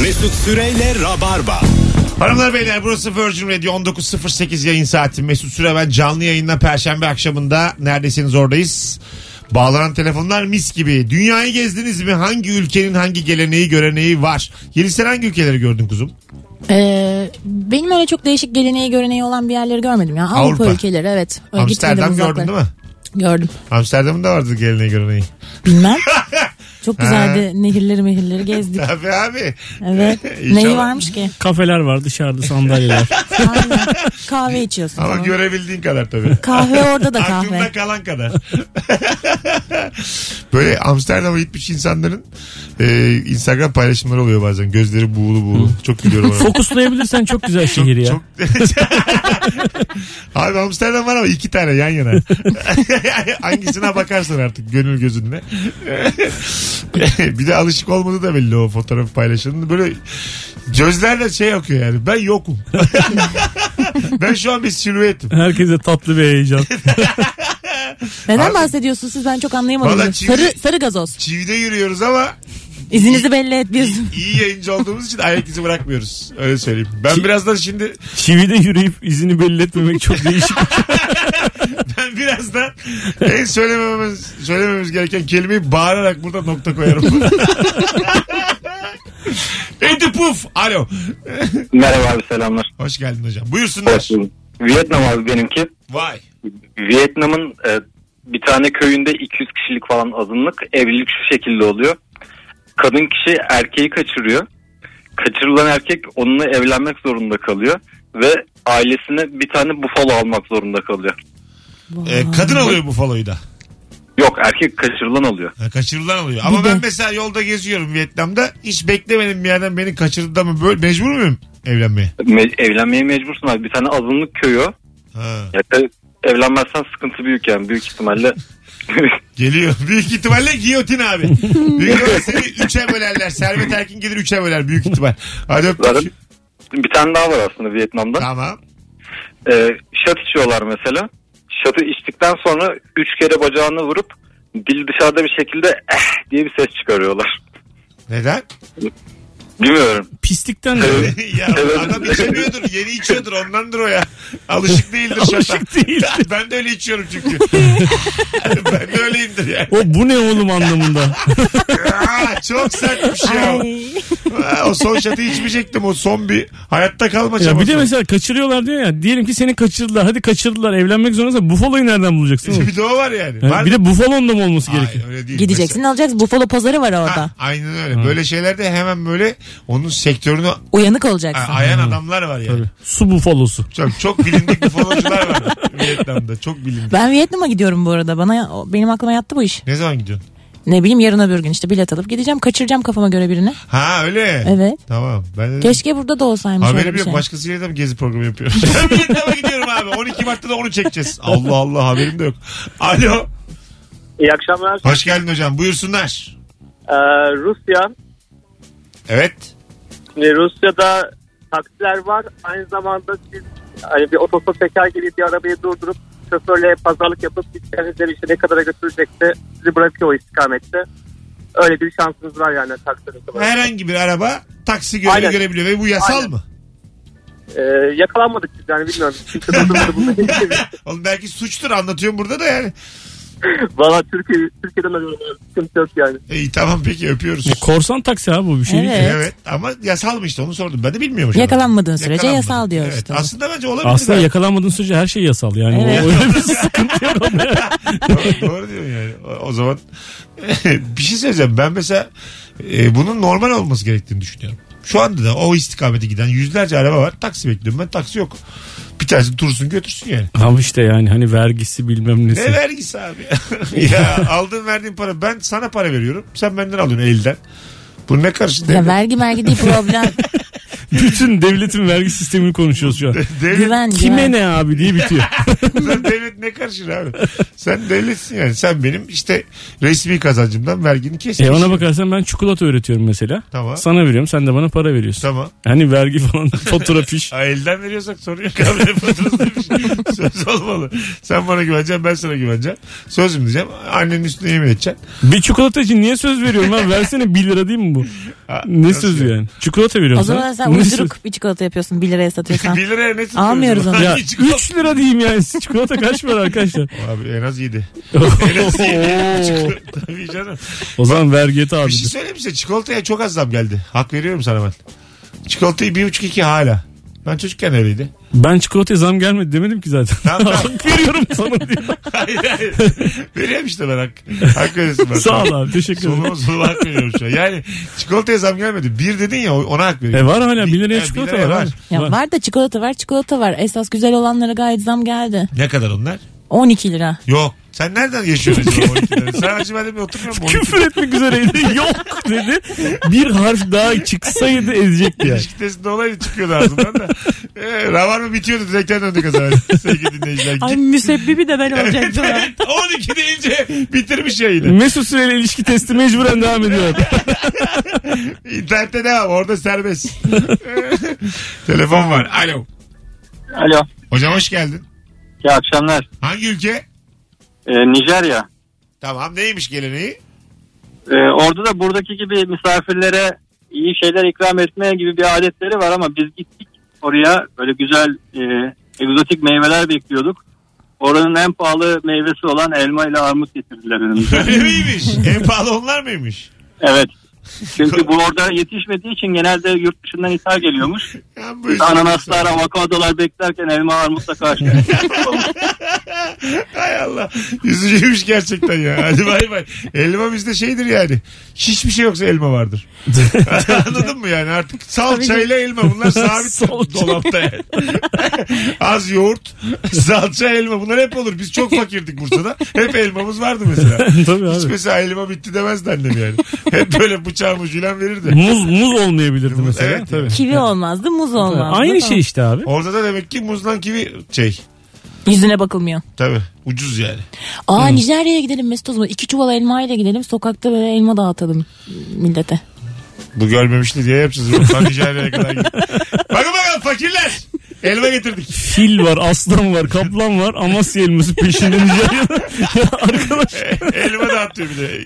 Mesut Süreyle Rabarba. Hanımlar beyler burası Virgin Radio 19.08 yayın saati. Mesut Süre ben canlı yayınla Perşembe akşamında neredesiniz oradayız. Bağlanan telefonlar mis gibi. Dünyayı gezdiniz mi? Hangi ülkenin hangi geleneği göreneği var? Yeni sen hangi ülkeleri gördün kuzum? Ee, benim öyle çok değişik geleneği göreneği olan bir yerleri görmedim ya. Avrupa, Avrupa. ülkeleri evet. Öyle Amsterdam gitmedim gördün uzaklara. değil mi? Gördüm. Amsterdam'ın da vardı geleneği göreneği. Bilmem. çok güzeldi. Nehirleri mehirleri gezdik. Tabii abi. Evet. İnşallah. Neyi varmış ki? Kafeler var dışarıda sandalyeler. Aynen. kahve içiyorsun. Ama falan. görebildiğin kadar tabii. Kahve orada da Aklımda kahve. kalan kadar. Böyle Amsterdam'a gitmiş insanların e, Instagram paylaşımları oluyor bazen. Gözleri buğulu buğulu. Çok gülüyorum ona. Fokuslayabilirsen çok güzel şehir ya. Çok... Abi Amsterdam var ama iki tane yan yana. Hangisine bakarsın artık gönül gözünle. bir de alışık olmadı da belli o fotoğraf paylaşımının. Böyle gözlerle şey akıyor yani. Ben yokum. ben şu an bir silüetim. Herkese tatlı bir heyecan. Neden bahsediyorsun siz ben çok anlayamadım. Vallahi çivi- Sarı, sarı gazoz. Çivide yürüyoruz ama İzinizi belli etmiyorsun. iyi yayıncı olduğumuz için ayak izi bırakmıyoruz. Öyle söyleyeyim. Ben birazdan şimdi Çivide yürüyüp izini belli etmemek çok değişik. ben birazdan en söylememiz, söylememiz gereken kelimeyi bağırarak burada nokta koyarım. Edi Puf. Alo. Merhaba abi selamlar. Hoş geldin hocam. Buyursunlar. Hoş bulduk. Vietnam abi benimki. Vay. Vietnam'ın e, bir tane köyünde 200 kişilik falan azınlık evlilik şu şekilde oluyor. Kadın kişi erkeği kaçırıyor. Kaçırılan erkek onunla evlenmek zorunda kalıyor ve ailesine bir tane bufalo almak zorunda kalıyor. Ee, kadın alıyor bu faloyu da. Yok erkek kaçırılan alıyor. Ha, Kaçırılan alıyor. Ama Bir de- ben mesela yolda geziyorum Vietnam'da. Hiç beklemedim bir yerden beni kaçırdı ama böyle mecbur muyum evlenmeye? Me- evlenmeye mecbursun abi. Bir tane azınlık köyü. o. Ha. Ya tabii evlenmezsen sıkıntı büyük yani büyük ihtimalle. Geliyor. Büyük ihtimalle giyotin abi. büyük ihtimalle seni üçe bölerler. Servet Erkin gelir üçe böler büyük ihtimal. Hadi Zaten öptük. bir tane daha var aslında Vietnam'da. Tamam. e, şat içiyorlar mesela. Şatı içtikten sonra üç kere bacağını vurup dil dışarıda bir şekilde eh diye bir ses çıkarıyorlar. Neden? Bilmiyorum. Pislikten de ya Evet. adam içemiyordur. Yeni içiyordur. Ondandır o ya. Alışık değildir şata. Alışık değildir. ben de öyle içiyorum çünkü. ben de öyleyimdir yani. o bu ne oğlum anlamında. Aa, çok sert bir şey o. Ay. Aa, o son şatı içmeyecektim. O son bir hayatta kalma Ya bir çabası. de mesela kaçırıyorlar diyor ya. Diyelim ki seni kaçırdılar. Hadi kaçırdılar. Evlenmek zorundasın. Bufalo'yu nereden bulacaksın? oğlum? bir de o var yani. Yani Var bir mı? de bufalonun da mı olması Hayır, gerekiyor? öyle değil. Gideceksin Mesela- alacaksın. Buffalo pazarı var orada. Ha, aynen öyle. Böyle şeylerde hemen böyle onun sektörünü a- Uyanık olacaksın. ayan adamlar var yani. Tabii. Su bufalosu. Çok, çok bilindik bufalocular var Vietnam'da. Çok bilindik. Ben Vietnam'a gidiyorum bu arada. Bana o- benim aklıma yattı bu iş. Ne zaman gidiyorsun? Ne bileyim yarın öbür gün işte bilet alıp gideceğim. Kaçıracağım kafama göre birini. Ha öyle. Evet. Tamam. Ben de Keşke burada da olsaymış öyle Haberim bir yok. şey. Başkasıyla da mı gezi programı yapıyorum? ben Vietnam'a gidiyorum abi. 12 Mart'ta da onu çekeceğiz. Allah Allah haberim de yok. Alo. İyi akşamlar. Hoş geldin hocam. Buyursunlar. Ee, Rusya. Evet. Şimdi Rusya'da taksiler var. Aynı zamanda siz hani bir otostop teker gibi bir arabayı durdurup şoförle pazarlık yapıp gideceğinizleri işte ne kadara götürecekse sizi bırakıyor o istikamette. Öyle bir şansınız var yani taksilerin kadar. Herhangi bir araba taksi görevi Aynen. görebiliyor ve bu yasal Aynen. mı? Ee, yakalanmadık biz yani bilmiyorum. Kimse durdurmadı bunu. Oğlum belki suçtur anlatıyorum burada da yani. Valla Türkiye, Türkiye'den arıyorum. Sıkıntı yok yani. İyi tamam peki öpüyoruz. E, korsan taksi abi bu bir şey. değil. Evet. Evet. ama yasal mı işte onu sordum. Ben de bilmiyormuşum. Yakalanmadığın sürece yasal diyoruz Evet. tabii. Aslında bence olabilir. Aslında Ha. yakalanmadığın sürece her şey yasal yani. Evet. O, öyle bir sıkıntı yok ama ya. Doğru- Doğru diyorsun yani. O, o zaman bir şey söyleyeceğim. Ben mesela e, bunun normal olması gerektiğini düşünüyorum. Şu anda da o istikamete giden yüzlerce araba var. Taksi bekliyorum ben. Taksi yok. Bir tanesi dursun götürsün yani. Ama işte yani hani vergisi bilmem nesi. Ne vergisi abi? ya aldığın verdiğin para ben sana para veriyorum. Sen benden alıyorsun elden. Bu ne karşı Ya vergi vergi değil problem. Bütün devletin vergi sistemini konuşuyoruz şu an. Devlet, Güven. Kime güven. ne abi diye bitiyor. Lan devlet ne karışır abi? Sen devletsin yani. Sen benim işte resmi kazancımdan vergini kesmiş. e ona bakarsan ben çikolata öğretiyorum mesela. Tamam. Sana veriyorum sen de bana para veriyorsun. Tamam. Hani vergi falan fatura fiş. Ha, elden veriyorsak sorun yok abi. Yapıyoruz demiş. Söz olmalı. Sen bana güveneceksin ben sana güveneceğim. Sözüm diyeceğim. Annenin üstüne yemin edeceksin. Bir çikolata için niye söz veriyorum lan? Versene 1 lira değil mi bu? Ha, Ne nasıl sözü yani? Çikolata veriyorum O zaman sen Ne uyduruk bir çikolata yapıyorsun 1 liraya satıyorsan. söz? Bir liraya ne tutuyorsun? Almıyoruz onu. söz? Ya Hangi Hani çikolata? 3 lira diyeyim yani. Çikolata kaç para arkadaşlar? Abi en az yedi. Oo. Tabii canım. o zaman vergi et Bir abi. şey söyleyeyim size çikolataya çok az zam geldi. Hak veriyorum sana ben. Çikolatayı bir buçuk iki hala. Ben çocukken öyleydi. Ben çikolataya zam gelmedi demedim ki zaten. Tamam, tamam. Hak veriyorum sana diyor. hayır hayır. Veriyorum işte ben hak. Hak veriyorsun ben. Sağ ol abi teşekkür ederim. Soluma soluma hak veriyorum şu an. Yani çikolataya zam gelmedi. Bir dedin ya ona hak E veriyorum. var hala Bir- 1 liraya Ha, çikolata bir liraya var. var. Var. Ya Var. var da çikolata var çikolata var. Esas güzel olanlara gayet zam geldi. Ne kadar onlar? 12 lira. Yok. Sen nereden yaşıyorsun acaba 12 lira? Sen acaba ben de oturmuyor mu? 12 lira? Küfür etmek üzereydi. Yok dedi. Bir harf daha çıksaydı ezecekti yani. İlişki testinde olaydı çıkıyordu ağzımdan da. Ee, ravar mı bitiyordu direkten döndük o zaman. Sevgili dinleyiciler. Ay Git- müsebbibi de ben olacaktım. Evet, 12 deyince bitirmiş yayını. Mesut Süreyle ilişki testi mecburen devam ediyor. İnternette devam orada serbest. Telefon var. Alo. Alo. Hocam hoş geldin. İyi akşamlar. Hangi ülke? Ee, Nijerya. Tamam neymiş geleneği? Ee, orada da buradaki gibi misafirlere iyi şeyler ikram etme gibi bir adetleri var ama biz gittik oraya böyle güzel e, egzotik meyveler bekliyorduk. Oranın en pahalı meyvesi olan elma ile armut getirdiler önümüze. Öyle miymiş? en pahalı onlar mıymış? evet. Çünkü bu orada yetişmediği için genelde yurt dışından ithal geliyormuş. Ya bu Ananaslar, avokadolar beklerken elma armutla karşılaştık. Hay Allah. Üzücüymüş gerçekten ya. Hadi bay bay. Elma bizde şeydir yani. Hiçbir şey yoksa elma vardır. Anladın mı yani artık salçayla elma bunlar sabit Salça. dolapta yani. Az yoğurt, salça, elma bunlar hep olur. Biz çok fakirdik Bursa'da. Hep elmamız vardı mesela. Tabii Hiç abi. mesela elma bitti demezdi annem yani. Hep böyle bıçağımı jülen verirdi. Muz muz olmayabilirdi mesela. evet. Tabii. Kivi olmazdı muz olmazdı. Aynı Tamam. şey işte abi. Orada da demek ki muzdan kivi şey. Yüzüne bakılmıyor. Tabii ucuz yani. Aa Nijerya'ya gidelim Mesut o zaman. İki çuval elma ile gidelim. Sokakta böyle elma dağıtalım millete. Bu görmemişti diye yapacağız. Buradan Nijerya'ya kadar gidiyor. Bakın bakın fakirler. Elma getirdik. Fil var, aslan var, kaplan var. Amasya elması peşinde Nijerya'da. Ya arkadaş Elma da atıyor bir de.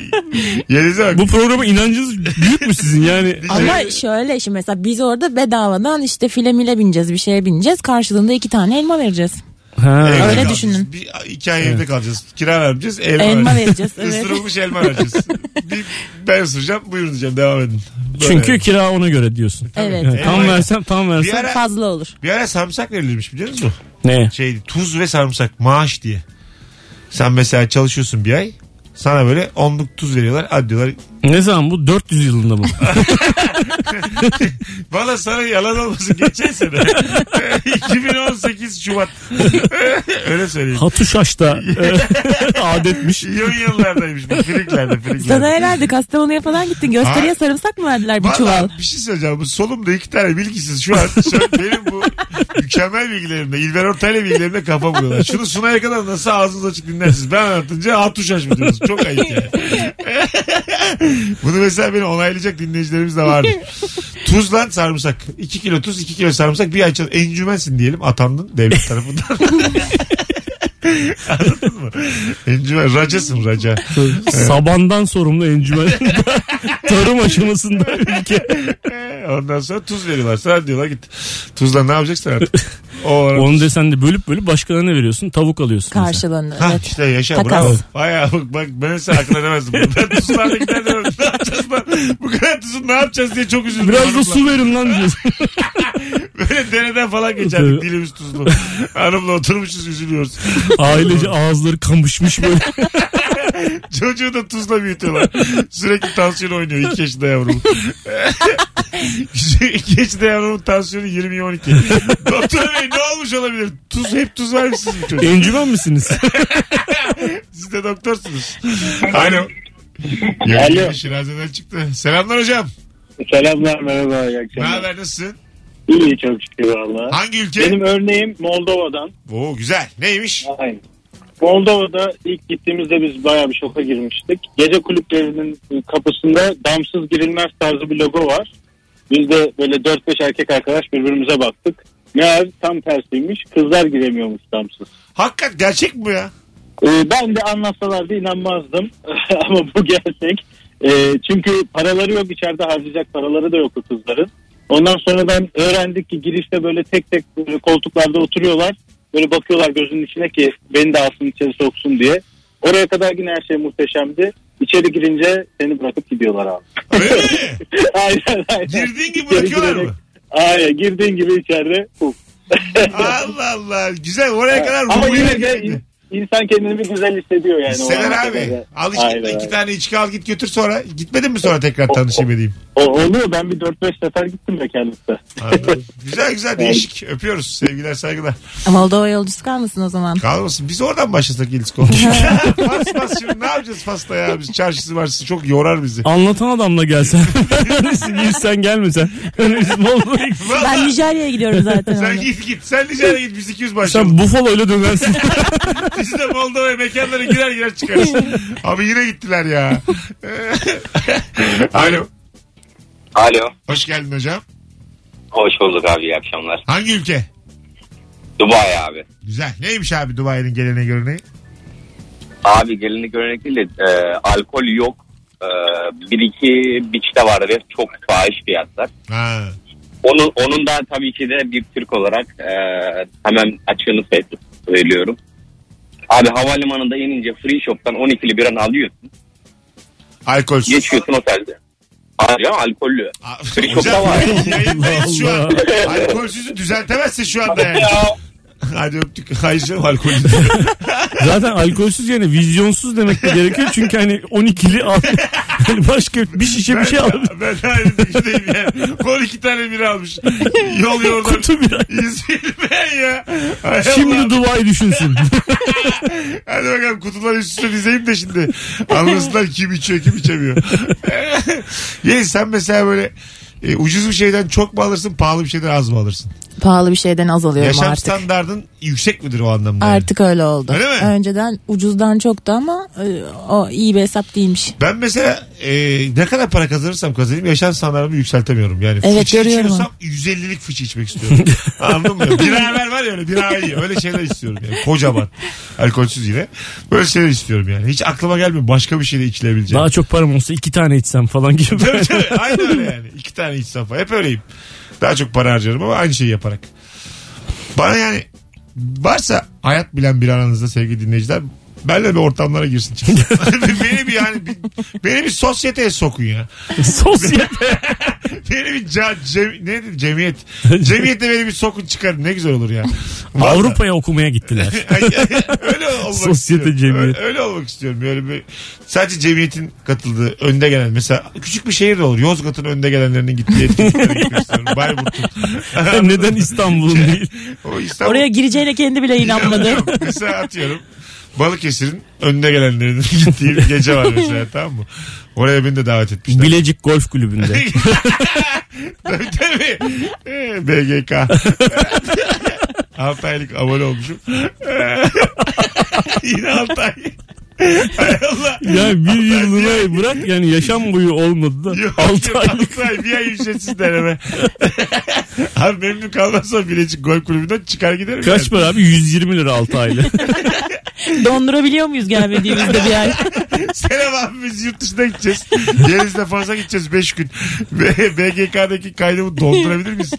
Yerinize bak. bu programa inancınız büyük mü sizin yani? Ama Nijerya- şöyle şimdi mesela biz orada bedavadan işte filemile bineceğiz bir şeye bineceğiz. Karşılığında iki tane elma vereceğiz. Ha. Evde öyle kalacağız. düşünün. Bir, iki ay evde kalacağız. Kira vermeyeceğiz. Elma, Elma vereceğiz. vereceğiz. Evet. Isırılmış elma vereceğiz. bir, ben ısıracağım. Buyurun diyeceğim. Devam edin. Böyle. Çünkü kira ona göre diyorsun. Evet. Yani tam Eyvah. versem tam bir versem. ara, Fazla olur. bir ara sarımsak verilirmiş biliyor musun? Ne? şey tuz ve sarımsak maaş diye. Sen mesela çalışıyorsun bir ay. Sana böyle onluk tuz veriyorlar. Hadi diyorlar. Ne zaman bu? 400 yılında mı? Valla sana yalan olmasın geçen sene. 2018 Şubat. Öyle söyleyeyim. Hatuşaş'ta e, adetmiş. Yön yıllardaymış bu. Friklerde Sana friklerde. herhalde Kastamonu'ya falan gittin. Gösteriye Ha. sarımsak mı verdiler bir çuval? Valla bir şey söyleyeceğim. Bu solumda iki tane bilgisiz şu an. Şu an benim bu mükemmel bilgilerimle, İlber Ortaylı bilgilerimle kafa buluyorlar. Şunu Sunay'a kadar nasıl ağzınız açık dinlersiniz? Ben anlatınca hat tuş açmadınız. Çok ayıp yani. Bunu mesela beni onaylayacak dinleyicilerimiz de vardır. Tuzla sarımsak. 2 kilo tuz, 2 kilo sarımsak. Bir ay çalış. Encümensin diyelim. Atandın devlet tarafından. Anladın mı? Encümen. Racasın raca. Sabandan sorumlu encümen. Tarım aşamasında ülke. Ee, Ondan sonra tuz veriyorlar. Sana diyorlar git. Tuzla ne yapacaksın artık? O olarak- Onu desen de bölüp bölüp başkalarına veriyorsun. Tavuk alıyorsun. mesela. Karşılığında. Ha evet. işte yaşa Takas. bravo. Bayağı bak, bak ben mesela akıl edemezdim. bunu. Ben tuzlarda gider demem. Ne yapacağız lan? Bu kadar tuzun ne yapacağız diye çok üzüldüm. Biraz hanımla. da su verin lan diyorsun. Böyle dereden falan geçerdik Tabii. dilimiz tuzlu. Hanımla oturmuşuz üzülüyoruz. Ailece ağızları kamışmış böyle. Çocuğu da tuzla büyütüyorlar. Sürekli tansiyon oynuyor 2 yaşında yavrum. 2 yaşında yavrumun tansiyonu 20-12. Doktor bey ne olmuş olabilir? Tuz hep tuz vermişsiniz bu çocuğa. Encümen misiniz? Siz de doktorsunuz. Alo. Yayın Alo. Şiraze'den çıktı. Selamlar hocam. Selamlar merhaba iyi Ne haber nasılsın? İyi çok şükür valla. Hangi ülke? Benim örneğim Moldova'dan. Oo güzel. Neymiş? Aynen. Moldova'da ilk gittiğimizde biz bayağı bir şoka girmiştik. Gece kulüplerinin kapısında damsız girilmez tarzı bir logo var. Biz de böyle 4-5 erkek arkadaş birbirimize baktık. Meğer tam tersiymiş. Kızlar giremiyormuş damsız. Hakikat gerçek mi bu ya? Ee, ben de anlatsalardı inanmazdım. Ama bu gerçek. Ee, çünkü paraları yok içeride harcayacak paraları da yok o kızların. Ondan sonradan öğrendik ki girişte böyle tek tek böyle koltuklarda oturuyorlar. Böyle bakıyorlar gözünün içine ki beni de alsın içeri soksun diye. Oraya kadar yine her şey muhteşemdi. İçeri girince seni bırakıp gidiyorlar abi. Öyle mi? aynen aynen. Girdiğin gibi İçeri bırakıyorlar girerek- mı? Aynen girdiğin gibi içeride. Puf. Allah Allah. Güzel oraya kadar Ama ruhuyla yine de gitmedi. in- insan kendini bir güzel hissediyor yani. o Sever ana abi. kadar. Al Aynen, içki, iki aynen. tane içki al git götür sonra. Gitmedin mi sonra tekrar tanışayım edeyim? O, oluyor ben bir 4-5 sefer gittim mekanlıkta. Anladım. güzel güzel değişik. Öpüyoruz. Sevgiler saygılar. Moldova yolcusu kalmasın o zaman. Kalmasın. Biz oradan başlasak ilişki olmuş. fas fas şimdi ne yapacağız fasta ya? Biz çarşısı varsa çok yorar bizi. Anlatan adamla gelsen. Girsen gelmesen. Hani Biz Moldova'ya gitsen. Ben Nijerya'ya gidiyorum zaten. Sen onunla. git git. Sen Nijer'e git. Biz 200 başlayalım. Sen Buffalo ile dönersin. Biz de Moldova'ya mekanlara girer girer çıkarız. Abi yine gittiler ya. Alo. Alo. Hoş geldin hocam. Hoş bulduk abi iyi akşamlar. Hangi ülke? Dubai abi. Güzel. Neymiş abi Dubai'nin gelene göreneği? Abi gelini görenek değil de e, alkol yok. E, bir iki biçte var ve çok fahiş fiyatlar. Ha. Onun, onun da tabii ki de bir Türk olarak e, hemen açığını söyle- söylüyorum. Abi havalimanında inince free shop'tan 12'li bir an alıyorsun. Alkolsüz. Geçiyorsun otelde. Hayır ya alkollü. Aa, Free hocam, shop'ta var. Yayındayız şu an. Alkolsüzü düzeltemezsin şu anda yani. Hadi öptük. Hayır canım alkolsüz. Zaten alkolsüz yani vizyonsuz demek de gerekiyor. Çünkü hani 12'li al. Hani başka bir şişe bir şey al. Ben aynı fikirdeyim yani. Kol iki tane biri almış. Yol yordan. Kutu bir İzmir'den ya. Hay Allah. Şimdi Dubai düşünsün. Hadi bakalım kutular üst üste dizeyim de şimdi. Anlasınlar kim içiyor kim içemiyor. Yes sen mesela böyle e, ucuz bir şeyden çok mu alırsın pahalı bir şeyden az mı alırsın? Pahalı bir şeyden az alıyorum Yaşam artık. standardın yüksek midir o anlamda? yani? Artık öyle oldu. Öyle mi? Önceden ucuzdan çoktu ama e, o iyi bir hesap değilmiş. Ben mesela e, ne kadar para kazanırsam kazanayım yaşam standartımı yükseltemiyorum. Yani Evet, fıçı görüyorum içiyorsam 150'lik fıçı içmek istiyorum. Anladın mı? Bir haber var ya öyle bir haber öyle şeyler istiyorum. Yani. Kocaman. Alkolsüz yine. Böyle şeyler istiyorum yani. Hiç aklıma gelmiyor başka bir şey şeyle içilebileceğim. Daha çok param olsa iki tane içsem falan gibi. Tabii tabii. Aynı öyle yani. İki tane iç safa. Hep öyleyim. Daha çok para harcarım ama aynı şeyi yaparak. Bana yani varsa hayat bilen bir aranızda sevgili dinleyiciler benle bir ortamlara girsin çıksın. beni bir yani bir, beni bir sosyeteye sokun ya. Sosyete. Beni bir ca, cem, ne dedi, cemiyet. Cemiyete beni bir sokun çıkarın ne güzel olur ya. Vallahi. Avrupa'ya okumaya gittiler. Ay, ay, öyle olmak Sosyete istiyorum. cemiyet. Öyle, öyle olmak istiyorum. Böyle bir sadece cemiyetin katıldığı önde gelen mesela küçük bir şehir de olur. Yozgat'ın önde gelenlerinin gittiği etkinliklere gitmek istiyorum. Bayburt'un. Neden İstanbul'un değil? O İstanbul- Oraya gireceğine kendi bile inanmadı. Yok, mesela atıyorum. Balıkesir'in önde gelenlerinin gittiği bir gece var mesela tamam mı? Oraya beni de davet etmişler. Bilecik Golf Kulübü'nde. tabii tabii. Ee, BGK. 6 aylık abone olmuşum. Ee, Yine 6 ay. Hay Allah. Ya bir yılına bırak yani yaşam boyu olmadı da Yok, 6 yok, aylık. altı ay bir ay ücretsiz deneme. Abi memnun kalmazsa Bilecik Gol Kulübü'nden çıkar giderim. Kaç para abi? 120 lira 6 aylık. Dondurabiliyor muyuz gelmediğimizde bir ay? Selam abi biz yurt dışına gideceğiz. Denizde fazla gideceğiz 5 gün. B- BGK'daki kaydımı doldurabilir miyiz?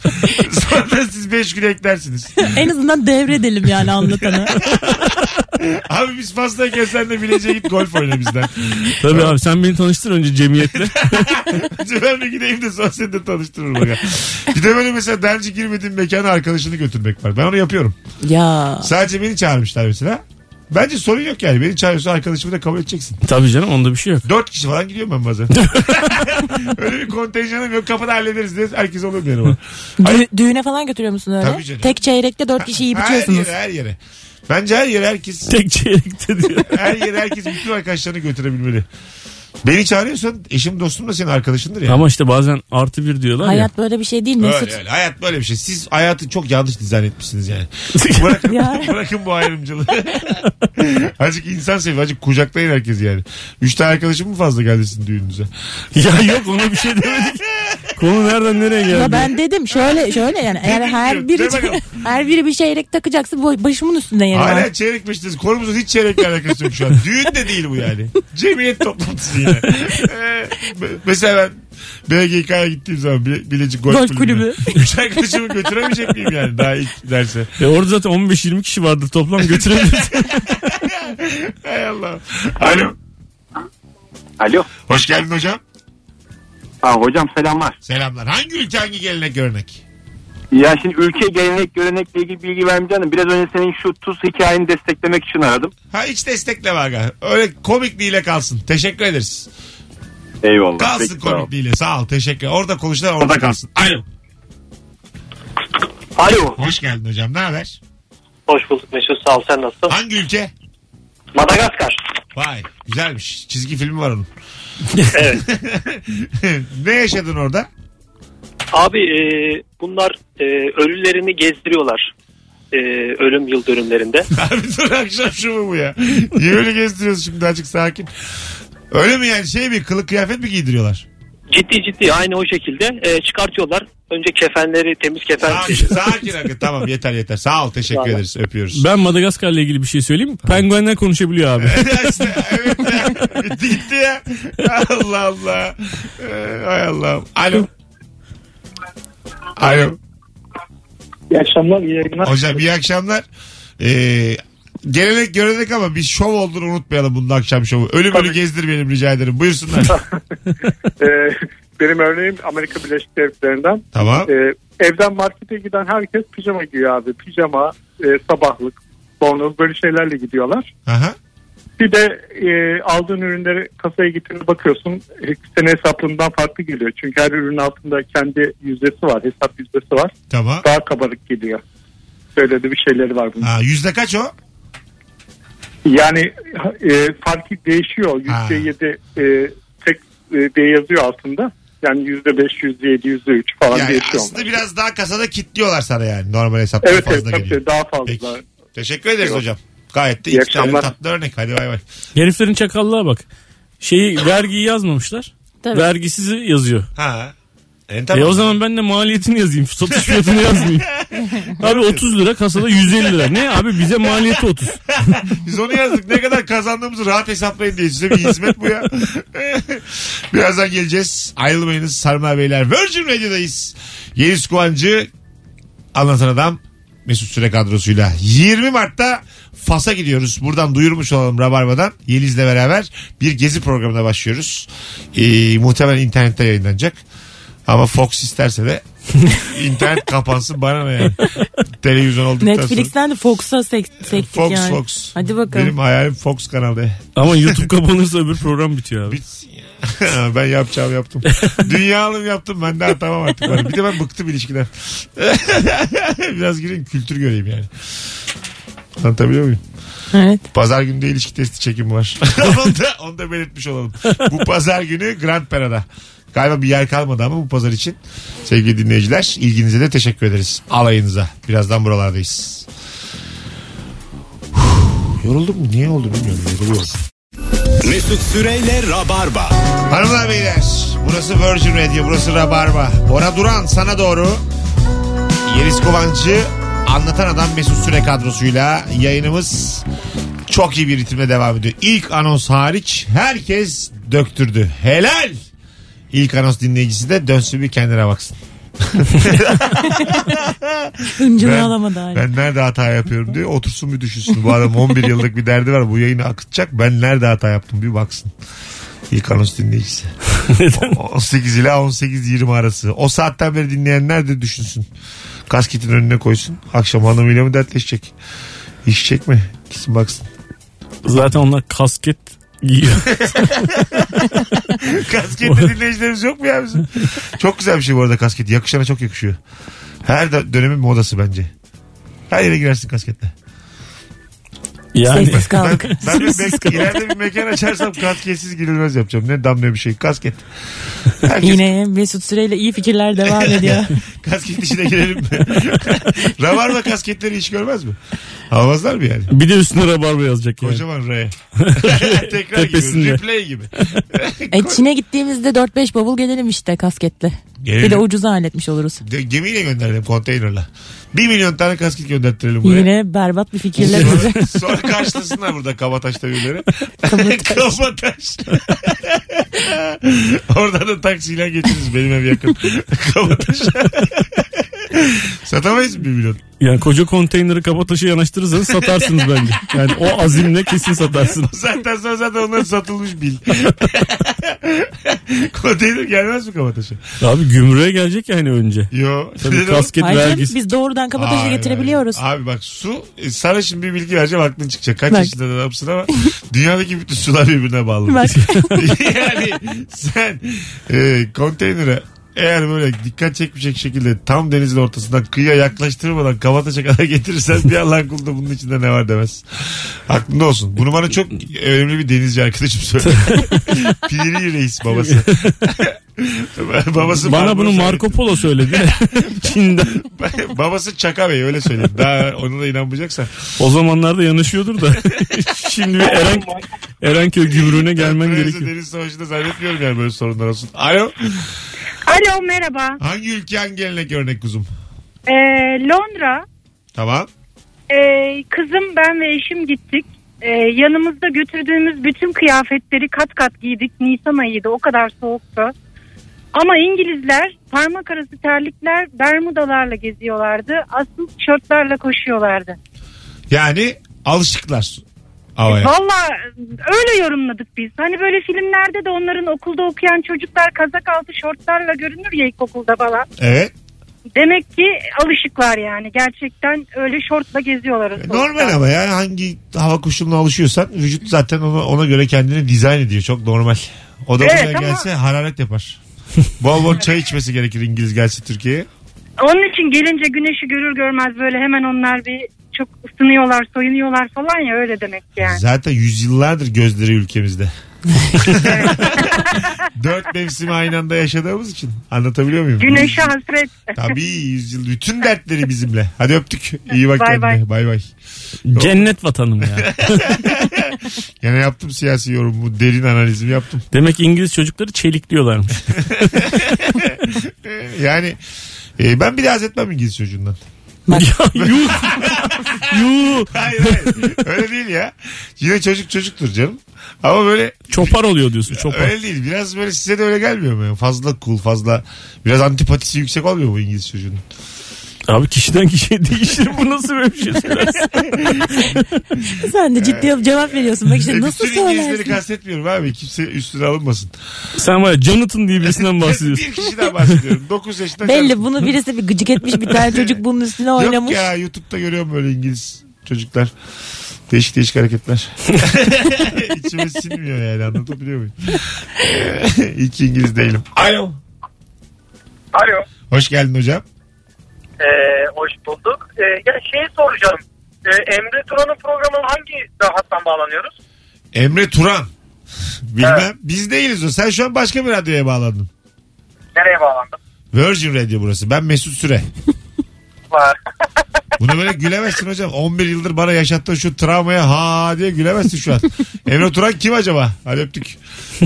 Sonra da siz 5 gün eklersiniz. en azından devredelim yani anlatanı. Abi biz fazlayken sen de Bilecik'e git golf oyna bizden. Tabii abi sen beni tanıştır önce cemiyetle. ben bir gideyim de sonra seni de tanıştırırım. Bak. Bir de böyle mesela daha önce girmediğim mekana arkadaşını götürmek var. Ben onu yapıyorum. ya Sadece beni çağırmışlar mesela. Bence sorun yok yani. Beni çağırıyorsa arkadaşımı da kabul edeceksin. Tabii canım onda bir şey yok. Dört kişi falan gidiyorum ben bazen. Öyle bir kontenjanım yok. Kapıda hallederiz diye herkes olur yanıma. dü- düğüne falan götürüyor musun öyle? Tabii canım. Tek çeyrekte dört kişi iyi Her bitiyorsunuz. yere her yere. Bence her yere herkes Tek çeyrekte diyor. her yere herkes bütün arkadaşlarını götürebilmeli. Beni çağırıyorsan eşim dostum da senin arkadaşındır ya. Ama işte bazen artı bir diyorlar ya. Hayat böyle bir şey değil Mesut. Öyle öyle. Hayat böyle bir şey. Siz hayatı çok yanlış dizayn etmişsiniz yani. bırakın, Ya. bırakın bu ayrımcılığı. azıcık insan sevin. Azıcık kucaklayın herkes yani. Üç tane arkadaşım mı fazla geldi sizin düğününüze? Ya yok ona bir şey demedik. Konu nereden nereye geldi? Ya ben dedim şöyle şöyle yani eğer her biri Demedim. her biri bir çeyrek takacaksa bu- başımın üstünden yeri Hala var. çeyrek peşindeyiz. Konumuzun hiç çeyrekle alakası yok şu an. Düğün de değil bu yani. Cemiyet toplantısı yani. Ee, me- mesela ben BGK'ya gittiğim zaman Bile- Bilecik Golf, Golf Kulübü. Kulübü'ne Üç arkadaşımı götüremeyecek miyim yani daha ilk derse? E orada zaten 15-20 kişi vardı toplam götürebiliriz. Hay Allah. Alo. Alo. Hoş geldin hocam. Ha, hocam selamlar. Selamlar. Hangi ülke hangi gelenek örnek? Ya şimdi ülke gelenek görenekle ilgili bilgi vermeyeceğim de biraz önce senin şu tuz hikayeni desteklemek için aradım. Ha hiç destekle var galiba. Öyle komikliğiyle kalsın. Teşekkür ederiz. Eyvallah. Kalsın Peki, sağ ol. komikliğiyle. Sağ ol. Teşekkür. Orada konuşulan orada kalsın. Alo. Alo. Hoş geldin hocam. Ne haber? Hoş bulduk Mesut sağ ol sen nasılsın? Hangi ülke? Madagaskar. Vay güzelmiş. Çizgi filmi var onun. ne yaşadın orada? Abi e, bunlar e, ölülerini gezdiriyorlar. E, ölüm yıl dönümlerinde. Abi dur akşam şu mu bu ya? Niye öyle gezdiriyorsun şimdi açık sakin? Öyle mi yani şey mi kılık kıyafet mi giydiriyorlar? Ciddi ciddi aynı o şekilde e, çıkartıyorlar. Önce kefenleri temiz kefen. Sakin, sakin hakikaten. tamam yeter yeter. Sağ ol teşekkür Vallahi. ederiz öpüyoruz. ben Madagaskar'la ilgili bir şey söyleyeyim. mi? Penguenler konuşabiliyor abi. İşte, evet ya. Bitti gitti ya. Allah Allah. Ee, hay Allah'ım. Alo. Alo. İyi akşamlar iyi yayınlar. Hocam iyi akşamlar. Ee, gelenek görenek ama bir şov olduğunu unutmayalım bunun akşam şovu. Ölü ölü gezdirmeyelim rica ederim. Buyursunlar. Ee, benim örneğim Amerika Birleşik Devletleri'nden. tamam. Ee, evden markete giden herkes pijama giyiyor abi. Pijama, e, sabahlık, bornoz böyle şeylerle gidiyorlar. Aha. Bir de e, aldığın ürünleri kasaya getirip bakıyorsun. e, Senin hesaplığından farklı geliyor. Çünkü her ürünün altında kendi yüzdesi var. Hesap yüzdesi var. Tamam. Daha kabarık geliyor. Böyle de bir şeyleri var bunun. Ha, yüzde kaç o? Yani e, farkı değişiyor. Ha. %7 e, tek e, diye yazıyor altında. Yani %5, %7, %3 falan Yani değişiyor. aslında onlar. biraz daha kasada kilitliyorlar sana yani. Normal hesaptan Evet evet fazla tabii geliyor. ki daha fazla. Peki. Teşekkür ederiz hocam. Gayet de İyi iki tane akşamlar. tatlı örnek. Hadi bay bay. Heriflerin çakallığa bak. Şeyi vergiyi yazmamışlar. Tabii. Vergisizi yazıyor. Ha. En E o zaman ben de maliyetini yazayım. Satış fiyatını yazmayayım. abi 30 lira kasada 150 lira. Ne abi bize maliyeti 30. Biz onu yazdık. Ne kadar kazandığımızı rahat hesaplayın diye size bir hizmet bu ya. Birazdan geleceğiz. Ayrılmayınız Sarmal Beyler. Virgin Radio'dayız. Yeliz Kuvancı anlatan adam Mesut Süre kadrosuyla 20 Mart'ta Fas'a gidiyoruz. Buradan duyurmuş olalım Rabarba'dan. Yeliz'le beraber bir gezi programına başlıyoruz. Ee, muhtemelen internette yayınlanacak. Ama Fox isterse de internet kapansın bana ne yani. Televizyon olduktan sonra. Netflix'ten de Fox'a sek, sektik E, Fox yani. Fox. Hadi bakalım. Benim hayalim Fox kanalı. Ama YouTube kapanırsa öbür program bitiyor abi. Bitsin ya. ben yapacağım yaptım. Dünyalım yaptım ben daha tamam artık. Bana. Bir de ben bıktım ilişkiden. Biraz gireyim kültür göreyim yani. Anlatabiliyor muyum? Evet. Pazar günü de ilişki testi çekimi var. onu, da, onu da belirtmiş olalım. Bu pazar günü Grand Pera'da. Galiba bir yer kalmadı ama bu pazar için. Sevgili dinleyiciler ilginize de teşekkür ederiz. Alayınıza. Birazdan buralardayız. Huh, Yoruldum mu? Niye oldu bilmiyorum. Yoruluyorum. Mesut Süreyle Rabarba. Hanımlar beyler burası Virgin Radio burası Rabarba. Bora Duran sana doğru. Yeliz Kovancı anlatan adam Mesut Süre kadrosuyla yayınımız çok iyi bir ritimle devam ediyor. İlk anons hariç herkes döktürdü. Helal. İlk anons dinleyicisi de dönsün bir kendine baksın. Hıncını Ben- alamadı hala. Ben nerede hata yapıyorum diye otursun bir düşünsün. Bu adam 11 yıllık bir derdi var. Bu yayını akıtacak. Ben nerede hata yaptım bir baksın. İlk anons dinleyicisi. 18 ila 18-20 arası. O saatten beri dinleyenler de düşünsün. Kasketin önüne koysun. Akşam hanımıyla mı dertleşecek? İşecek mi? Gitsin baksın. Zaten onlar kasket giyiyor. Kasketli dinleyicilerimiz yok mu ya bizim? Çok güzel bir şey bu arada kasket. Yakışana çok yakışıyor. Her de- dönemin modası bence. Her yere girersin kasketle. Yani Sessiz Ben, kaldık. ben bir mek- ileride bir mekan açarsam kasketsiz girilmez yapacağım. Ne dam ne bir şey. Kasket. Herkes Yine Mesut Süreyle iyi fikirler devam ediyor. kasket işine girelim mi? Rabarba kasketleri hiç görmez mi? Almazlar mı yani? bir de üstüne rabarba yazacak yani. Kocaman R. Tekrar gibi. Tepesinde. Replay gibi. E, Çin'e gittiğimizde 4-5 bavul gelelim işte kasketli. Gelelim. Bir de ucuza halletmiş oluruz. De- gemiyle gönderelim konteynerla. Bir milyon tane kasket gönderttirelim buraya. Yine berbat bir fikirler bizi. Sonra, sonra karşılasınlar burada Kabataş'ta birileri. Kabataş. Oradan da taksiyle geçiriz. Benim ev yakın. Kabataş. Satamayız mı bir milyon? Yani koca konteyneri kaba taşı yanaştırırsanız satarsınız bence. Yani o azimle kesin satarsınız. Zaten sonra zaten onlar satılmış bil. Konteyner gelmez mi Kabataş'a? Abi gümrüğe gelecek yani önce. Yo. Tabii Dedim- kasket Hayır canım, vergisi. biz doğrudan kabataşı Hayır, getirebiliyoruz. hayır. Abi bak su e, sana şimdi bir bilgi vereceğim aklın çıkacak. Kaç Bak. yaşında da adamsın ama dünyadaki bütün sular birbirine bağlı. Bak yani sen e, konteynere eğer böyle dikkat çekmeyecek şekilde tam denizin ortasından kıyıya yaklaştırmadan kabataşa kadar getirirsen bir Allah'ın kulunda bunun içinde ne var demez. Aklında olsun. Bunu bana çok önemli bir denizci arkadaşım söyledi. Piri reis babası. babası Bana bunu Marco Polo söyledi. Çin'den. babası Çaka Bey öyle söyledi. Daha ona da inanmayacaksan. O zamanlarda yanaşıyordur da. Şimdi bir Eren, Erenköy gümrüğüne gelmen Fransa gerekiyor. Deniz Savaşı'nda zannetmiyorum yani böyle sorunlar olsun. Alo. Alo merhaba. Hangi ülke hangi gelenek örnek kuzum? Ee, Londra. Tamam. Ee, kızım ben ve eşim gittik. Ee, yanımızda götürdüğümüz bütün kıyafetleri kat kat giydik. Nisan ayıydı o kadar soğuktu. Ama İngilizler parmak arası terlikler bermudalarla geziyorlardı. Asıl tişörtlerle koşuyorlardı. Yani alışıklar E, havaya. Valla öyle yorumladık biz. Hani böyle filmlerde de onların okulda okuyan çocuklar kazak altı şortlarla görünür ya ilkokulda falan. Evet. Demek ki alışıklar yani. Gerçekten öyle şortla geziyorlar. o soğukta. E, Normal ama yani hangi hava koşuluna alışıyorsan vücut zaten ona, ona göre kendini dizayn ediyor. Çok normal. O da Evet buraya ama- gelse hararet yapar. bol bol çay içmesi gerekir İngiliz gelse Türkiye'ye. Onun için gelince güneşi görür görmez böyle hemen onlar bir çok ısınıyorlar, soyunuyorlar falan ya öyle demek yani. Zaten yüzyıllardır gözleri ülkemizde. Dört mevsimi aynı anda yaşadığımız için. Anlatabiliyor muyum? Güneşe hasret. Tabii yüzyıl bütün dertleri bizimle. Hadi öptük. İyi bak Bay kendine. Bay bay. Cennet vatanım ya. Yine yaptım siyasi yorumumu. Derin analizimi yaptım. Demek İngiliz çocukları çelikliyorlarmış. Ee, Yani e, ben bir de haz etmem İngiliz çocuğundan. ya yuh. yuh. Hayır hayır. Öyle değil ya. Yine çocuk çocuktur canım. Ama böyle Çopar oluyor diyorsun çopar. öyle değil. Biraz böyle size de öyle gelmiyor mu? ya? Fazla cool fazla. Biraz antipatisi yüksek olmuyor mu İngiliz çocuğunun? Abi kişiden kişiye değişir bu nasıl böyle bir şey söylersin? sen de ciddi alıp cevap veriyorsun. Bak işte E, nasıl bütün İngilizleri söylersin? kastetmiyorum abi. Kimse üstüne alınmasın. Sen var ya Jonathan diye birisinden bahsediyorsun. bir kişiden bahsediyorum. 9 yaşında. Belli bunu birisi bir gıcık etmiş bir tane çocuk bunun üstüne Yok oynamış. ya YouTube'da görüyorum böyle İngiliz çocuklar. Değişik değişik hareketler. İçime sinmiyor yani anlatabiliyor muyum? Hiç İngiliz değilim. Alo. Alo. Hoş geldin hocam. Ee, hoş bulduk. Ee, ya şey soracağım. Ee, Emre Turan'ın programına hangi hattan bağlanıyoruz? Emre Turan. Bilmem. Evet. Biz değiliz o. Sen şu an başka bir radyoya bağlandın. Nereye bağlandım? Virgin Radio burası. Ben Mesut Süre. Var. Bunu böyle gülemezsin hocam. 11 yıldır bana yaşattığın şu travmaya ha diye gülemezsin şu an. Emre Turan kim acaba? Hadi öptük.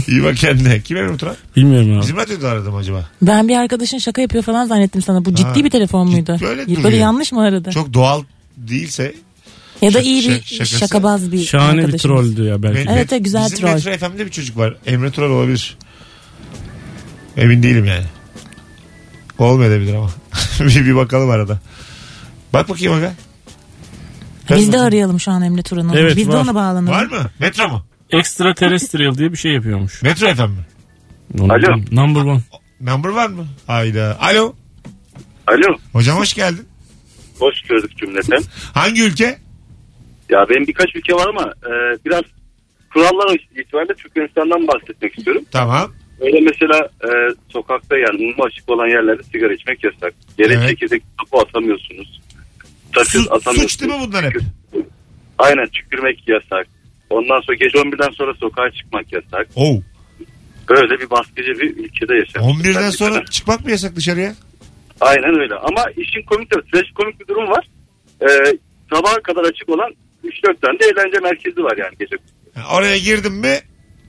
İyi bak kendine. Kim Emre Turan? Bilmiyorum abi. Bizim radyoda aradım acaba. Ben bir arkadaşın şaka yapıyor falan zannettim sana. Bu ciddi Ha, bir telefon muydu? ciddi- öyle duruyor. Böyle yanlış mı aradı? Çok doğal değilse ya da şak- iyi bir şak- şakası. şakabaz bir Şahane bir arkadaşımız. trolldü ya belki. Evet. güzel Bizim troll. Metro FM'de bir çocuk var. Emre Tural olabilir. Emin değilim yani. Olmayabilir ama. bir, bir bakalım arada. Bak bakayım aga. Biz de arayalım şu an Emre Turan'ı. Evet, Biz de var. ona bağlanalım. Var mı? Metro mu? Extraterrestrial diye bir şey yapıyormuş. Metro FM mi? Alo. Number one. Number var mı? Hayda. Alo. Alo. Hocam hoş geldin. Hoş gördük cümleten. Hangi ülke? Ya benim birkaç ülke var ama e, biraz kurallar itibariyle Türkmenistan'dan bahsetmek istiyorum. Tamam. Öyle mesela e, sokakta yani mum açık olan yerlerde sigara içmek yasak. Yere Evet. çekirdek kapı atamıyorsunuz. Su, Sakız suç değil mi atamıyorsunuz. bunlar hep? Aynen tükürmek yasak. Ondan sonra gece 11'den sonra sokağa çıkmak yasak. Oh. Böyle bir baskıcı bir ülkede yaşıyoruz. 11'den sonra çıkmak mı yasak dışarıya? Aynen öyle. Ama işin komik tarafı, trash komik bir durum var. Ee, sabaha kadar açık olan 3-4 tane de eğlence merkezi var yani gece. Ha, Oraya girdim mi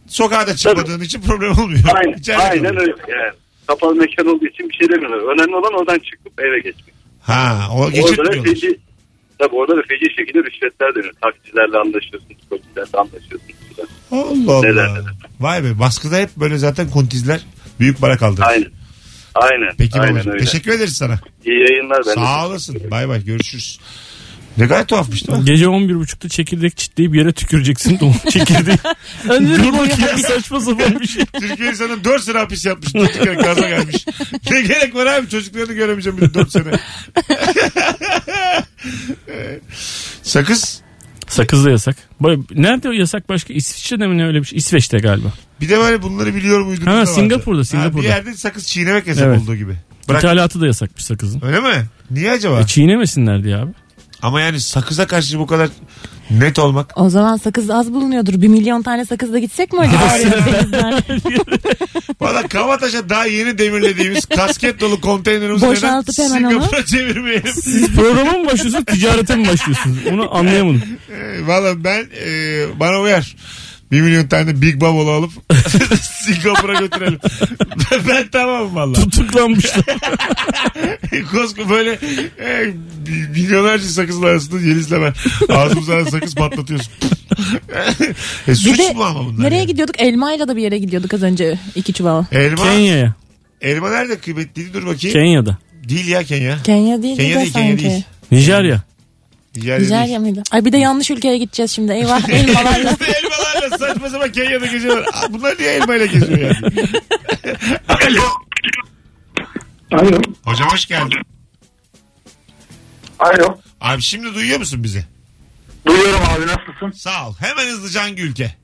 sokağa da çıkmadığın için problem olmuyor. Aynen, İçeride aynen kalıyor. öyle. Yani, kapalı mekan olduğu için bir şey demiyorlar. Önemli olan oradan çıkıp eve geçmek. Ha o Orada da geçirtmiyorlar. feci, tabii orada da feci şekilde rüşvetler dönüyor. Taksicilerle anlaşıyorsun, polislerle anlaşıyorsun. Allah Allah. Neler neler. Vay be baskıda hep böyle zaten kontizler büyük para kaldırır. Aynen. Aynen. Peki aynen babacığım. öyle. Teşekkür ederiz sana. İyi yayınlar. Ben de Sağ olasın. Bay bay görüşürüz. Ne kadar tuhafmış değil mi? Gece 11.30'da çekirdek çitleyip yere tüküreceksin. de o Çekirdeği. Dur bakayım saçma sapan bir şey. Türkiye sana 4 sene hapis yapmış. Durduk yere kaza gelmiş. Ne gerek var abi çocuklarını göremeyeceğim bir de 4 sene. Sakız. Sakız da yasak. Ba- Nerede o yasak başka? İsviçre'de mi ne öyle bir şey? İsveç'te galiba. Bir de böyle bunları biliyor muydunuz? Ha, da vardı. Singapur'da, Ha, Singapur'da. bir yerde sakız çiğnemek yasak Evet. olduğu gibi. Bırak. İthalatı da yasakmış sakızın. Öyle mi? Niye acaba? E, çiğnemesinler diye abi. Ama yani sakıza karşı bu kadar net olmak. O zaman sakız az bulunuyordur. Bir milyon tane sakızla gitsek mi acaba? Sakızdan Valla Kavataş'a daha yeni demirlediğimiz kasket dolu konteynerimizi neden Boşaltıp hemen onu. Singapur'a çevirmeyelim? Siz programa mı başlıyorsunuz, ticarete mi başlıyorsunuz? Onu anlayamadım. Ee, Valla ben e, bana uyar. Bir milyon tane Big Bubble'ı alıp Singapur'a götürelim. ben, ben tamamım valla. Tutuklanmışlar. Kosko böyle e, milyonlarca sakızın arasında Yeliz'le ben ağzımıza sakız patlatıyorsun. e, Bir suç de mu ama bunlar? nereye yani? gidiyorduk? Elmayla da bir yere gidiyorduk az önce. iki çuval. Elma, Kenya'ya. elma nerede kıymetliydi dur bakayım. Kenya'da. değil ya Kenya. Kenya değil Kenya de değil, Kenya sanki. değil. Nijerya. Nijerya değil. Nijerya mıydı? Ay bir de yanlış ülkeye gideceğiz şimdi. Eyvah elmalarla. Elmalarla saçma sapan Kenya'da geziyorlar. Aa, Bunlar niye elmayla geziyor yani? Alo. Alo. Hocam hoş geldin. Alo. Abi şimdi duyuyor musun bizi? Duyuyorum abi nasılsın? Sağ ol. Hemen hızlıca hangi ülke?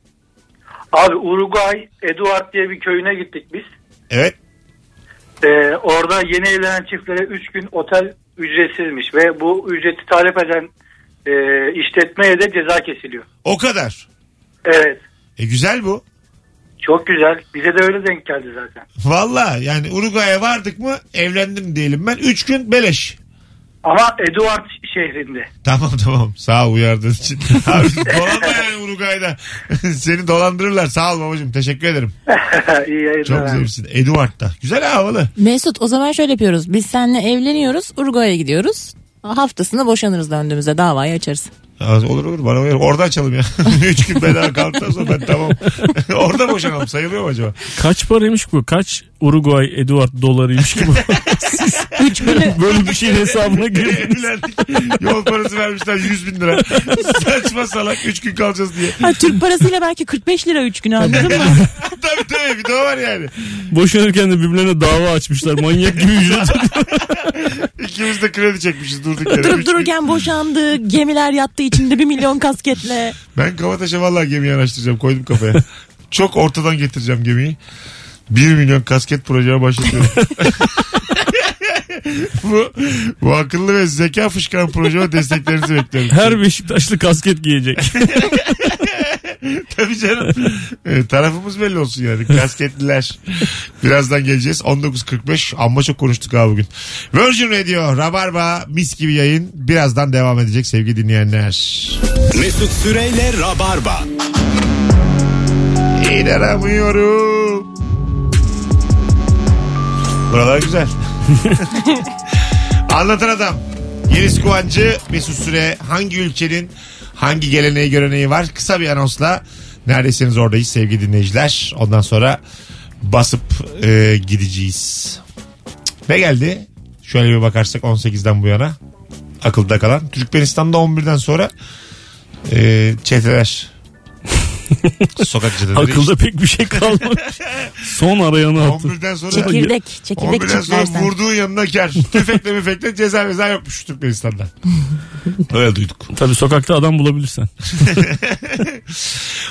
Abi Uruguay, Eduard diye bir köyüne gittik biz. Evet. Ee, orada yeni evlenen çiftlere 3 gün otel ücretsizmiş ve bu ücreti talep eden e, işletmeye de ceza kesiliyor. O kadar. Evet. E güzel bu. Çok güzel. Bize de öyle denk geldi zaten. Valla yani Uruguay'a vardık mı evlendim diyelim ben. Üç gün beleş. Ama Eduard şehrinde. Tamam tamam. Sağ ol uyardığın için. Abi dolanma yani Uruguay'da. Seni dolandırırlar. Sağ ol babacığım. Teşekkür ederim. İyi yayınlar. Çok abi. güzelsin. Eduard'da. Güzel ha, havalı. Mesut o zaman şöyle yapıyoruz. Biz seninle evleniyoruz. Uruguay'a gidiyoruz. Haftasında boşanırız döndüğümüzde davayı açarız. Az- Olur olur bana uyar. Orada açalım ya. Üç gün bedava kaldıktan sonra ben tamam. Orada boşanalım sayılıyor mu acaba? Kaç paraymış bu? Kaç Uruguay Eduard dolarıymış ki bu? Siz böyle bir şeyin hesabına girdiniz. Evlendik. Yol parası vermişler 100 bin lira. Saçma salak üç gün kalacağız diye. Ha, Türk parasıyla belki 45 lira 3 gün anladın mı? tabii tabii bir de o var yani. Boşanırken de birbirlerine dava açmışlar. Manyak gibi ücret İkimiz de kredi çekmişiz durduk yere. Üç Durup gün- dururken boşandı. Gemiler yattı içinde bir milyon kasketle. Ben Kavataş'a vallahi gemi yanaştıracağım koydum kafaya. Çok ortadan getireceğim gemiyi. 1 milyon kasket projeye başlatıyorum. bu, bu akıllı ve zeka fışkıran projeye desteklerinizi bekliyorum. Her Beşiktaşlı kasket giyecek. Tabii canım. Ee, tarafımız belli olsun yani. Kasketliler. Birazdan geleceğiz. 19.45. Amma çok konuştuk abi bugün. Virgin Radio, Rabarba, mis gibi yayın. Birazdan devam edecek sevgili dinleyenler. Mesut Süreyle Rabarba. İnanamıyorum. Buralar güzel. Anlatan Adam. Yeliz Kuvancı, Mesut Süre hangi ülkenin hangi geleneği göreneği var? Kısa bir anonsla neredesiniz oradayız sevgili dinleyiciler. Ondan sonra basıp e, gideceğiz. Ne geldi? Şöyle bir bakarsak 18'den bu yana akılda kalan. Türkmenistan'da 11'den sonra e, çeteler. Sokak çeteleri. Akılda pek bir şey kalmadı. Son arayanı attı. 11'den sonra Çekirdek. Çekirdek 11'den sonra çitlersen. vurduğun yanına kar. Tüfekle müfekle ceza meza yokmuş Türkmenistan'da. Öyle duyduk. Tabii sokakta adam bulabilirsen.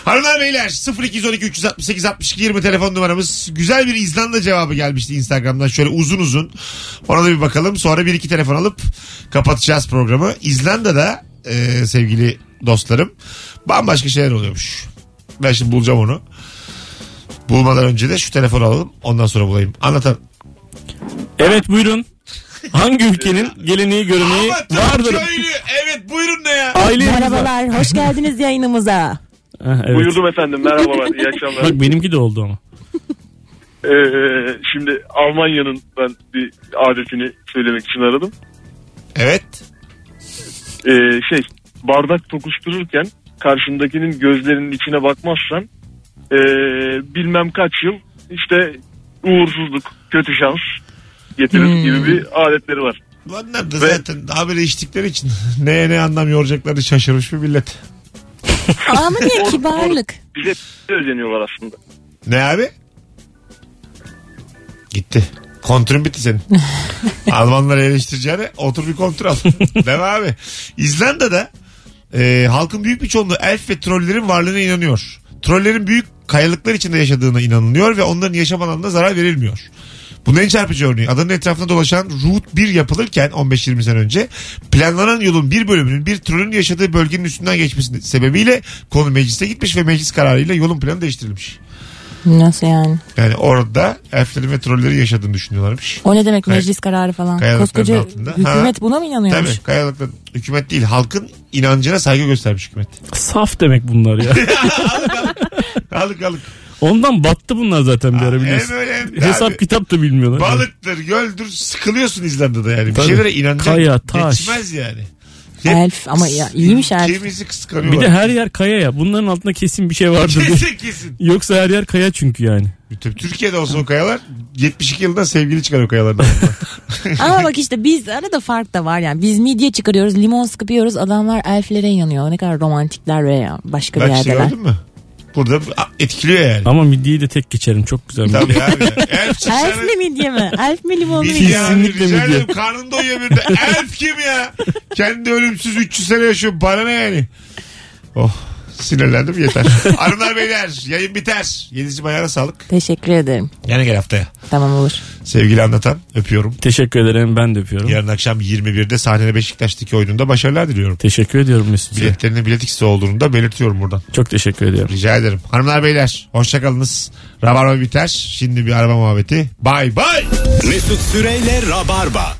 Hanımlar beyler 0212 368 62 20 telefon numaramız. Güzel bir İzlanda cevabı gelmişti Instagram'dan şöyle uzun uzun. Ona da bir bakalım. Sonra bir iki telefon alıp kapatacağız programı. İzlanda'da e, sevgili dostlarım bambaşka şeyler oluyormuş. Ben şimdi bulacağım onu. Bulmadan önce de şu telefonu alalım. Ondan sonra bulayım. Anlatan. Evet buyurun. Hangi ülkenin geleneği göreneği vardır? şey- Evet buyurun ne ya? Aile Merhabalar, hoş geldiniz yayınımıza. Ha, evet. Buyurdum efendim merhabalar iyi akşamlar. Bak benimki de oldu ama. Ee, şimdi Almanya'nın ben bir adetini söylemek için aradım. Evet. Ee, şey bardak tokuştururken karşındakinin gözlerinin içine bakmazsan ee, bilmem kaç yıl işte uğursuzluk, kötü şans getirir Hmm. gibi bir adetleri var. Bunlar da zaten haberi içtikleri için neye ne anlam yoracakları şaşırmış bir millet. Ama niye kibarlık? Bize özeniyorlar aslında. Ne abi? Gitti. Kontrün bitti senin. Almanları eleştireceğine otur bir kontrol al. Değil mi abi? İzlanda'da e, halkın büyük bir çoğunluğu elf ve trollerin varlığına inanıyor. Trollerin büyük kayalıklar içinde yaşadığına inanılıyor ve onların yaşam alanına zarar verilmiyor. Bunun en çarpıcı örneği adanın etrafında dolaşan Route 1 yapılırken 15-20 sene önce planlanan yolun bir bölümünün bir trolün yaşadığı bölgenin üstünden geçmesi sebebiyle konu meclise gitmiş ve meclis kararıyla yolun planı değiştirilmiş. Nasıl yani? Yani orada elflerin ve trollerin yaşadığını düşünüyorlarmış. O ne demek Kay- meclis kararı falan? kayalıkların Koskoca altında. Ha. hükümet buna mı inanıyormuş? Tabii kayalıkların hükümet değil halkın inancına saygı göstermiş hükümet. Saf demek bunlar ya. Alık alık. Ondan battı bunlar zaten bir ara biliyorsun. hem öyle hem de Hesap abi. kitap da bilmiyorlar. Balıktır, göldür sıkılıyorsun İzlanda'da yani. Bir Tabii. şeylere inanacak Kaya, taş. geçmez yani. Elf ama ya, iyiymiş elf. Kimisi Evet. Bir kıskanıyorlar. de her yer kaya ya. Bunların altında kesin bir şey vardır. Kesin kesin. Yoksa her yer kaya çünkü yani. Tabii Türkiye'de olsa o kayalar 72 yılında sevgili çıkar o kayalardan. Ama bak işte biz arada fark da var yani. Biz midye çıkarıyoruz, limon sıkıyoruz. Adamlar elflere inanıyor. Ne kadar romantikler ve ya başka bir Bak işte yerdeler. gördün mü? Burada etkiliyor yani. Ama midyeyi de tek geçerim. Çok güzel. midye. Tabii abi. Elf Elf çıkar. mi midye mi? Elf mi limonlu midye? Midye mi? abi Kesinlikle rica midye. ederim. Karnını doyuyor bir de. Elf kim ya? Kendi ölümsüz 300 sene yaşıyor. Bana ne yani? Oh sinirlendim yeter. Hanımlar beyler yayın biter. Yedicim ayağına sağlık. Teşekkür ederim. Yine gel haftaya. Tamam olur. Sevgili anlatan öpüyorum. Teşekkür ederim. Ben de öpüyorum. Yarın akşam 21'de sahnede Beşiktaş'taki oyununda başarılar diliyorum. Teşekkür ediyorum Mesut'e. Biletlerinin bilet X'de olduğunu da belirtiyorum buradan. Çok teşekkür ediyorum. Rica ederim. Hanımlar beyler hoşçakalınız. Rabarba biter. Şimdi bir araba muhabbeti. Bay bay. Mesut Süreyle Rabarba.